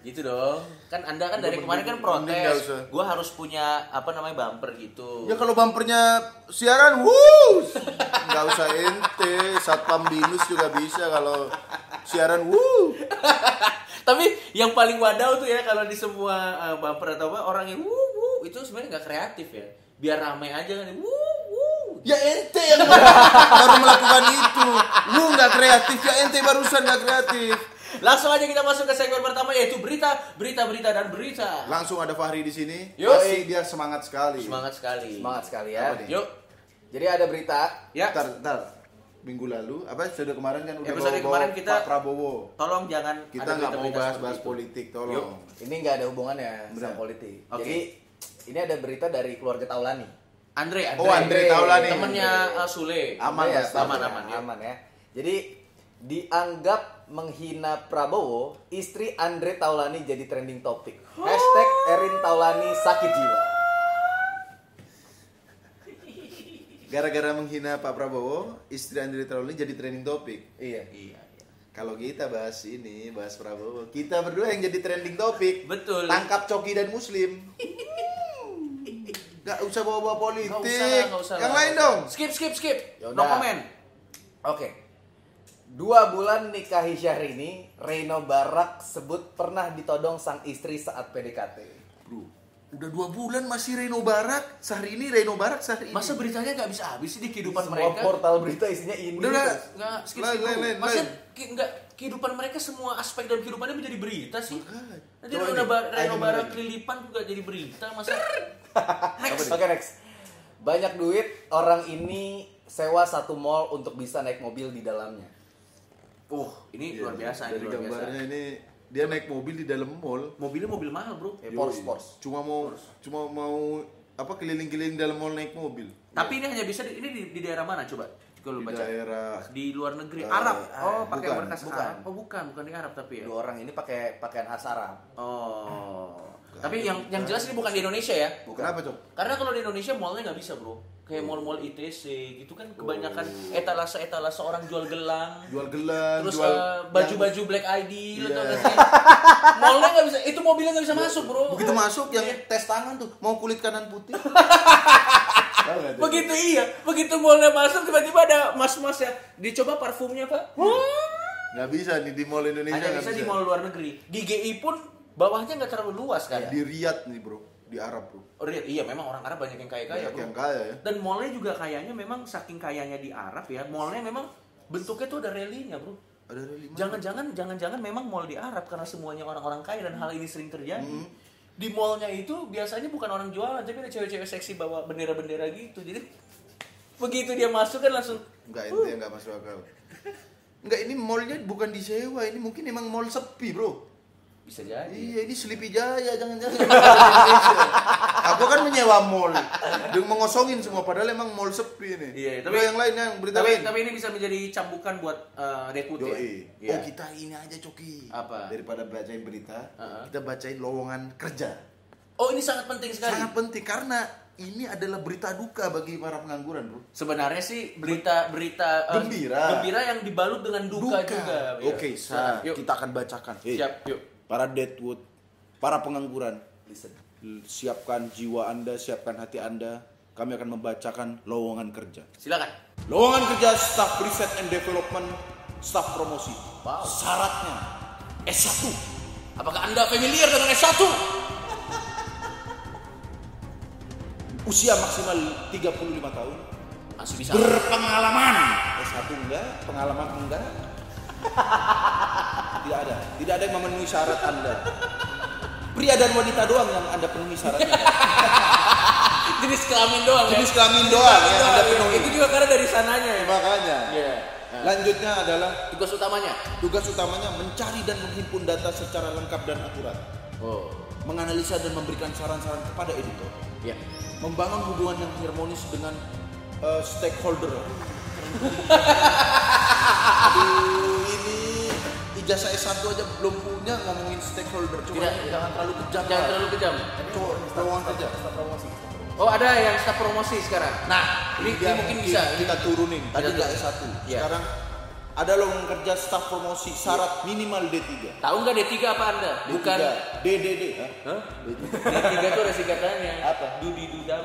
Gitu dong. Kan Anda kan dari kemarin kan mending nggak protes. usah. Gua harus punya apa namanya bumper gitu. Ya kalau bumpernya siaran, wuh, nggak usah ente, satpam binus juga bisa kalau siaran, wuh. Tapi yang paling wadaw tuh ya kalau di semua eh, bumper atau apa orang yang wuh wuh itu sebenarnya nggak kreatif ya. Biar ramai aja kan wuh wuh. Ya ente yang baru melakukan itu, lu nggak kreatif, ya ente barusan nggak kreatif. Langsung aja kita masuk ke segmen pertama yaitu berita, berita, berita dan berita. Langsung ada Fahri di sini, Yoi. pasti dia semangat sekali. Semangat sekali. Semangat sekali ya. Apa nih? Yuk. Jadi ada berita. Ya. Ntar, ntar. Minggu lalu, apa episode kemarin kan udah Episode bawa, kemarin kita- Pak Prabowo. Tolong jangan Kita nggak mau berita-berita bahas-bahas seperti itu. politik, Yuk. tolong. Ini nggak ada hubungannya Benar. sama politik. Oke. Jadi ini ada berita dari keluarga Taulani. Andre, Andre. Oh, Andre Taulani. Temennya eh, Sule. Aman Iya, lah, staff. aman, aman, ya. aman ya. Jadi dianggap menghina Prabowo, istri Andre Taulani jadi trending topic. Hashtag Erin Taulani sakit jiwa. Gara-gara menghina Pak Prabowo, istri Andre Taulani jadi trending topik. Iya. Iya, iya. Kalau kita bahas ini, bahas Prabowo, kita berdua yang jadi trending topik. Betul. Tangkap Coki dan Muslim. Gak usah bawa-bawa politik. Nggak usah lah, nggak usah yang lah. lain dong. Skip, skip, skip. Yaudah. No comment. Oke. Dua bulan nikahi Syahrini, Reno Barak sebut pernah ditodong sang istri saat PDKT. Bro, udah dua bulan masih Reno Barak. Sehari ini Reno Barak sehari ini. Masa beritanya nggak bisa habis sih di kehidupan Semua mereka? portal berita isinya ini. Udah, udah. terus. Nggak, skip, Lain, skip. lain, dulu. lain, Masa lain. ki- nggak kehidupan mereka semua aspek dalam kehidupannya menjadi berita sih? Nanti Coba Reno ini, Bar- ayo Reno gimana Barak ini? lilipan juga jadi berita, masa? Next. Oke next. Banyak duit, orang ini sewa satu mall untuk bisa naik mobil di dalamnya. Uh, ini Iya, luar biasa, ini Dari luar biasa. gambarnya ini dia naik mobil di dalam mall. Mobilnya mobil mahal, bro. Ya, Porsche, Yoi. Porsche. Cuma mau cuma mau apa keliling-keliling dalam mall naik mobil. Tapi ini hanya bisa di, ini di, di daerah mana coba? Kalau Di baca daerah di luar negeri Eh, Arab. Oh, eh, pakai bukan, berkas bukan. Arab. Oh, bukan, bukan di Arab tapi ya. Dua orang ini pakai pakaian khas Arab. Oh. Tapi yang yang jelas ini bukan di Indonesia ya. Bukan Oh. apa, Cok? Karena kalau di Indonesia mallnya nggak bisa bro. Kayak mall-mall ITC gitu kan kebanyakan etalase etalase orang jual gelang. Jual gelang, Terus Oh. jual eh, baju-baju Black ID lo Iya. tau gak sih? Mallnya nggak bisa, itu mobilnya nggak bisa masuk bro. Yang- begitu masuk yang Iya. tes tangan tuh mau kulit kanan putih. Tahu nggak, Cok? Begitu iya, begitu mallnya masuk tiba-tiba ada mas-mas ya. Dicoba parfumnya pak. Nggak bisa nih di mall Indonesia Hanya nggak bisa di mall luar negeri. Di GI pun bawahnya nggak terlalu luas kan? Iya, Di Riyadh nih bro, di Arab bro. Oh, Real, iya memang orang Arab banyak yang kaya-kaya. Banyak bro. yang kaya ya. Dan mallnya juga kayanya memang saking kayanya di Arab ya, mallnya memang bentuknya tuh ada relinya bro. Ada dari lima. Jangan-jangan, jangan-jangan memang mall di Arab karena semuanya orang-orang kaya dan hal ini sering terjadi. Hmm. Di mallnya itu biasanya bukan orang jualan, tapi ada cewek-cewek seksi bawa bendera-bendera gitu. Jadi begitu dia masuk kan langsung Enggak ente yang nggak masuk akal. Enggak ini mallnya bukan disewa, ini mungkin emang mall sepi bro. bisa jadi. Iya ini Sleepy Jaya jangan-jangan. Indonesia. Aku kan menyewa mall, dia mengosongin semua padahal emang mall sepi nih. Iya, tapi tapi- yang lain yang Tapi, berita lain. tapi ini bisa menjadi cambukan buat eh, rekrut ya. Yoi. Iya. Oh kita ini aja Coki. Apa? Daripada bacain berita, Uh-uh. kita bacain lowongan kerja. Oh ini sangat penting sekali. Sangat penting karena ini adalah berita duka bagi para pengangguran bro. Sebenarnya sih berita-berita eh, Gembira. gembira yang dibalut dengan duka, juga. Iya. Oke, Sa, Yuk. kita akan bacakan. Hei, Siap, yuk. Para deadwood, para pengangguran, Listen. l- siapkan jiwa Anda, siapkan hati Anda. Kami akan membacakan lowongan kerja. Silakan. Lowongan kerja staff riset and development, staff promosi. Wow. Syaratnya S1. Apakah Anda familiar dengan S1? Usia maksimal 35 tahun. Masih bisa. Berpengalaman. S1 Eh, enggak, pengalaman enggak. Tidak ada. Tidak ada yang memenuhi syarat Anda. Pria dan wanita doang yang Anda penuhi syaratnya. Jenis kelamin doang ya? Jenis kelamin doang yang Anda Iya. penuhi. Itu juga karena dari sananya ya. Makanya. Iya. Lanjutnya adalah Tugas utamanya. tugas utamanya mencari dan menghimpun data secara lengkap dan akurat, Oh. menganalisa dan memberikan saran-saran kepada editor, Iya. membangun hubungan yang harmonis dengan eh, stakeholder. Aduh, ini ijazah S1 aja belum punya ngomongin stakeholder. Coba Tidak, jangan terlalu kejam. Jangan terlalu kejam. Coba, lowongan kerja. Oh, ada yang staf promosi sekarang. Nah, ini, Dia ini mungkin bisa. kita turunin. Tadi Iya, nggak iya. S1, Iya. sekarang Ada lowongan kerja staf promosi syarat minimal D3. Tahu nggak D3 apa Anda? D3. Iya. Bukan. DDD. Hah? Hah? D3. D3 tuh ada singkatannya. Apa? Dudi dudam.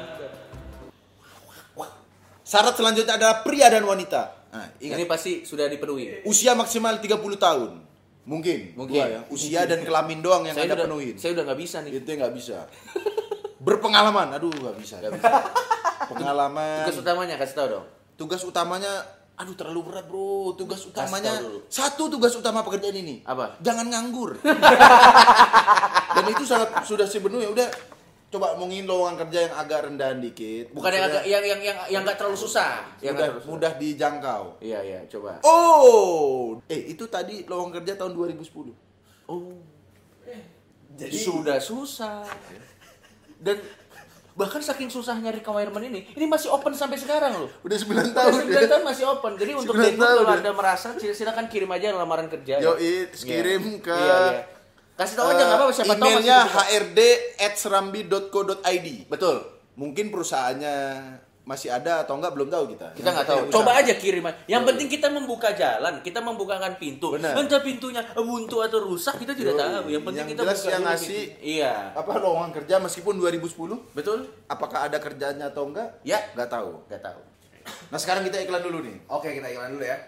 Syarat selanjutnya adalah pria dan wanita. Nah, ingat. Ini pasti sudah dipenuhi. Usia maksimal 30 tahun. Mungkin. Mungkin. Dua ya. Usia dan kelamin doang yang saya udah Anda penuhin. Iya. Saya udah nggak bisa nih. Itu yang nggak bisa. Berpengalaman. Aduh, nggak bisa. Nggak bisa. Pengalaman. Tugas utamanya kasih tahu dong. Tugas utamanya aduh terlalu berat bro tugas utamanya tau dulu. satu tugas utama pekerjaan ini Apa? jangan nganggur dan itu sangat sudah sepenuhnya udah coba mungkin lowongan kerja yang agak rendahan dikit Bukan yang agak Maksudnya yang yang yang yang nggak terlalu susah. Yang nggak terlalu mudah, susah. mudah dijangkau Iya iya coba. oh eh itu tadi lowongan kerja tahun 2010 Oh. Jadi- sudah susah. Dan bahkan saking susahnya requirement ini, ini masih open sampai sekarang loh. udah 9 tahun Udah 9 ya. tahun masih open. Jadi untuk Sembilan Denko tahun kalau ya. Anda merasa sil- silakan kirim aja lamaran kerja. ya. Yoi, terus Iya. kirim ke Iya, iya. Kasih tahu aja enggak apa-apa siapa tahu masih emailnya butuh. hrd@serambi.co.id Betul. mungkin perusahaannya masih ada atau enggak belum tahu kita Kita nggak tahu. Yang Coba penting aja kirim. aja. Yang penting kita membuka jalan, kita membukakan pintu. Benar. Entah pintunya buntu atau rusak kita tidak Yoi. tahu. Yang penting Yang kita jelas buka yang dulu ngasih- pintu. Iya. apa lowongan kerja meskipun 2010 Betul? apakah ada kerjanya atau enggak Ya. nggak tahu Enggak tahu. nah sekarang kita iklan dulu nih Oke, kita iklan dulu ya.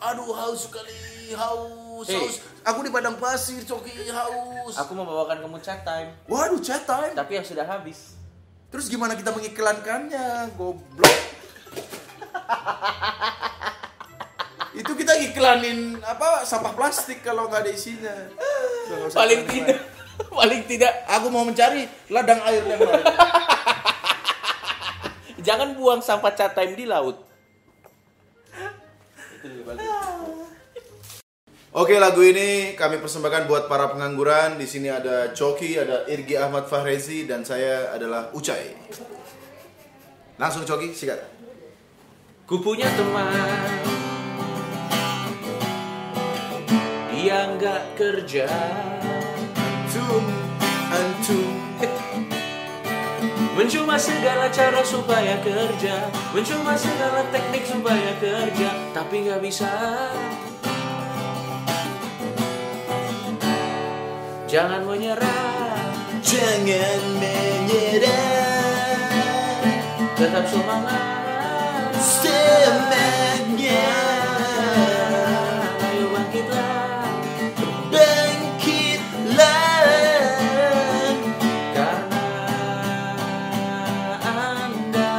aduh haus sekali haus Hey. haus aku di padang pasir coki haus Aku mau bawakan kamu chat time, waduh chat time tapi yang sudah habis. terus gimana kita mengiklankannya goblok itu kita iklanin apa sampah plastik kalau nggak ada isinya Udah, nggak usah Paling iklan-iklan. tidak paling tidak aku mau mencari ladang air yang lain jangan buang sampah chat time di laut. Oke lagu ini kami persembahkan buat para pengangguran. Di sini ada Coki, ada Irgi Ahmad Fahrezi dan saya adalah Ucai. Langsung Coki, sikat. Ku punya teman Dia nggak kerja Antum, antum. Mencoba segala cara supaya kerja Mencoba segala teknik supaya kerja Tapi nggak bisa Jangan menyerah Jangan menyerah Tetap semangat semangat Ayo bangkitlah bangkitlah. Karena Anda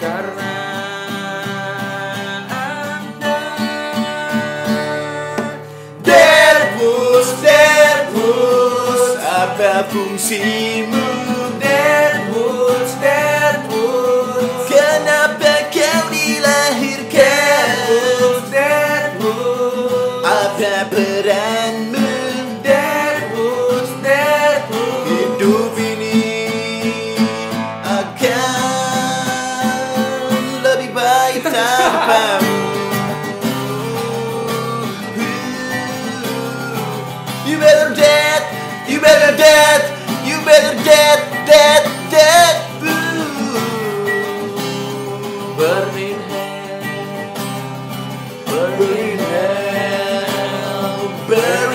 Karena Anda Derbus, derbus, apa fungsimu? Derbus, derbus, kenapa kau dilahirkan? Derbus, derbus, apa peranmu? Derbus, derbus, hidup ini akan lebih baik tanpamu. You better dead, you better dead, you better dead, dead, dead, boo. Burning hell Burning hell Burn